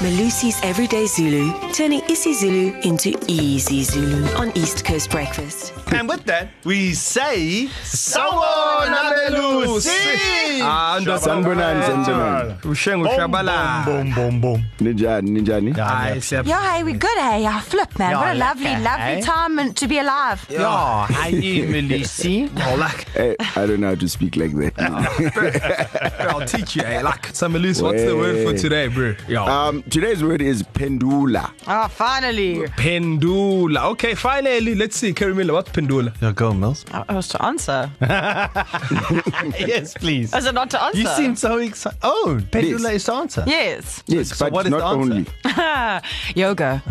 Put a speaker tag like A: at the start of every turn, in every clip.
A: Malusi's Everyday Zulu, turning isiZulu into easy Zulu on East Coast Breakfast.
B: And with that, we say,
C: Sawubona, Belusi!
D: Ah,
E: Sanibonani, sanibonani.
B: Ushengu Shabala.
C: Boom, boom, boom, boom.
E: Ninjani, ninjani?
D: Ah,
B: Hayi, siyab-
F: Yeah, hey, we good, hey. Yeah, flip, man.
B: Yeah,
F: what a
B: like
F: lovely,
B: that,
F: lovely
B: eh?
F: time and to be alive.
B: Yeah, hayi, Malusi. Oh, like,
E: Hey, Eh, I don't know how to speak like that.
B: I'll teach you, eh, like.
C: So, Melissa, what's the word for
E: Wait.
C: today, bro?
B: Yeah.
F: Uh,
E: Um, today's word is pendula.
F: Oh, finally.
C: Pendula. Okay, finally, let's see. Karimila, what's pendula? Yeah, go, Mills.
F: I I was to answer.
C: yes, please.
F: Is it not to answer?
C: so excited. Oh,
E: Pendula
C: is the answer.
F: Yes.
E: Yes,
C: So
E: but
C: what is
E: not
C: the answer?
E: only.
F: Yoga.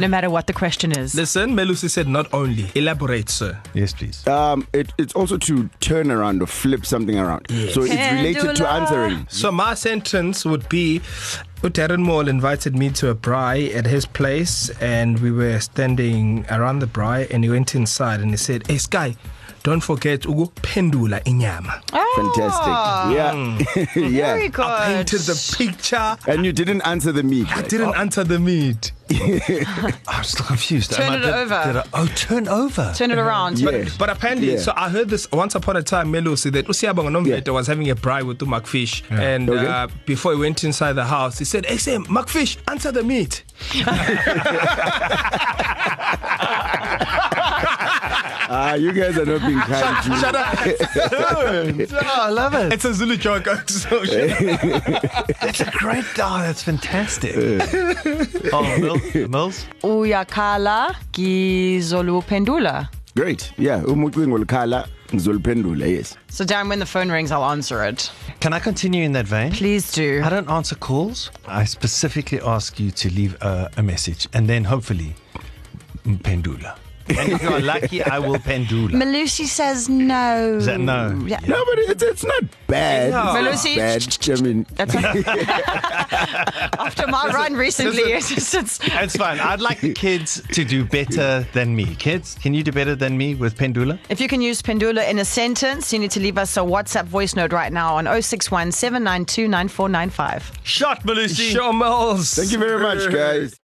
F: no matter what the question is.
C: Listen, Melusi said not only. Elaborate, sir. Yes, please.
E: Um, it, it's also to turn around or flip something around. So it's related to
F: Pendula.
E: answering.
C: So my sentence would be Darren Moore invited me to a braai at his place and we were standing around the braai and he went inside and he said, Hey Sky, don't forget Ugo Pendula Inyama.
F: oh,
E: Fantastic. Yeah.
F: Very
E: yeah.
F: good.
C: I painted the picture.
E: And you didn't answer the meat.
C: I
E: right?
C: didn't
F: Oh.
C: answer the meat. I'm still confused.
F: Turn it
C: did-
F: over.
C: did I- oh, turn over.
F: Turn it around.
E: Yeah.
C: But, but apparently,
E: Yeah.
C: so I heard this once upon a time, Melo said that Usiyabonga Nomvete
E: Yeah.
C: was having a braai with Macfish. And
E: Okay.
C: uh, before he went inside the house, he said, Hey, Sam, Macfish, answer the meat.
E: Ah, you guys are not being kind to
C: Shut up.
D: oh, I love it.
C: It's a Zulu joke. So
D: It's a great Oh, that's fantastic. oh, Mills, Mills?
F: Uyakhala gizolu pendula.
E: Great. Yeah. Umukwingolkala, ngizoliphendula, yes.
F: So, Darren, when the phone rings, I'll answer it.
D: Can I continue in that vein?
F: Please do.
D: I don't answer calls. I specifically ask you to leave a, a message and then hopefully mm, pendula. And if you're lucky, I will pendula.
F: Malusi says no.
D: Is that no?
F: Yeah.
E: No, but it's, it's not bad.
C: No.
E: It's not
F: Melusi,
E: bad. I mean,
F: That's After my run recently, it's, just- it's,
D: It's fine. I'd like the kids to do better than me. Kids, can you do better than me with pendula?
F: If you can use Pendula in a sentence, you need to leave us a WhatsApp voice note right now on 061 792 9495.
C: Shot, Malusi. Sure, Mills.
E: thank you very much, guys.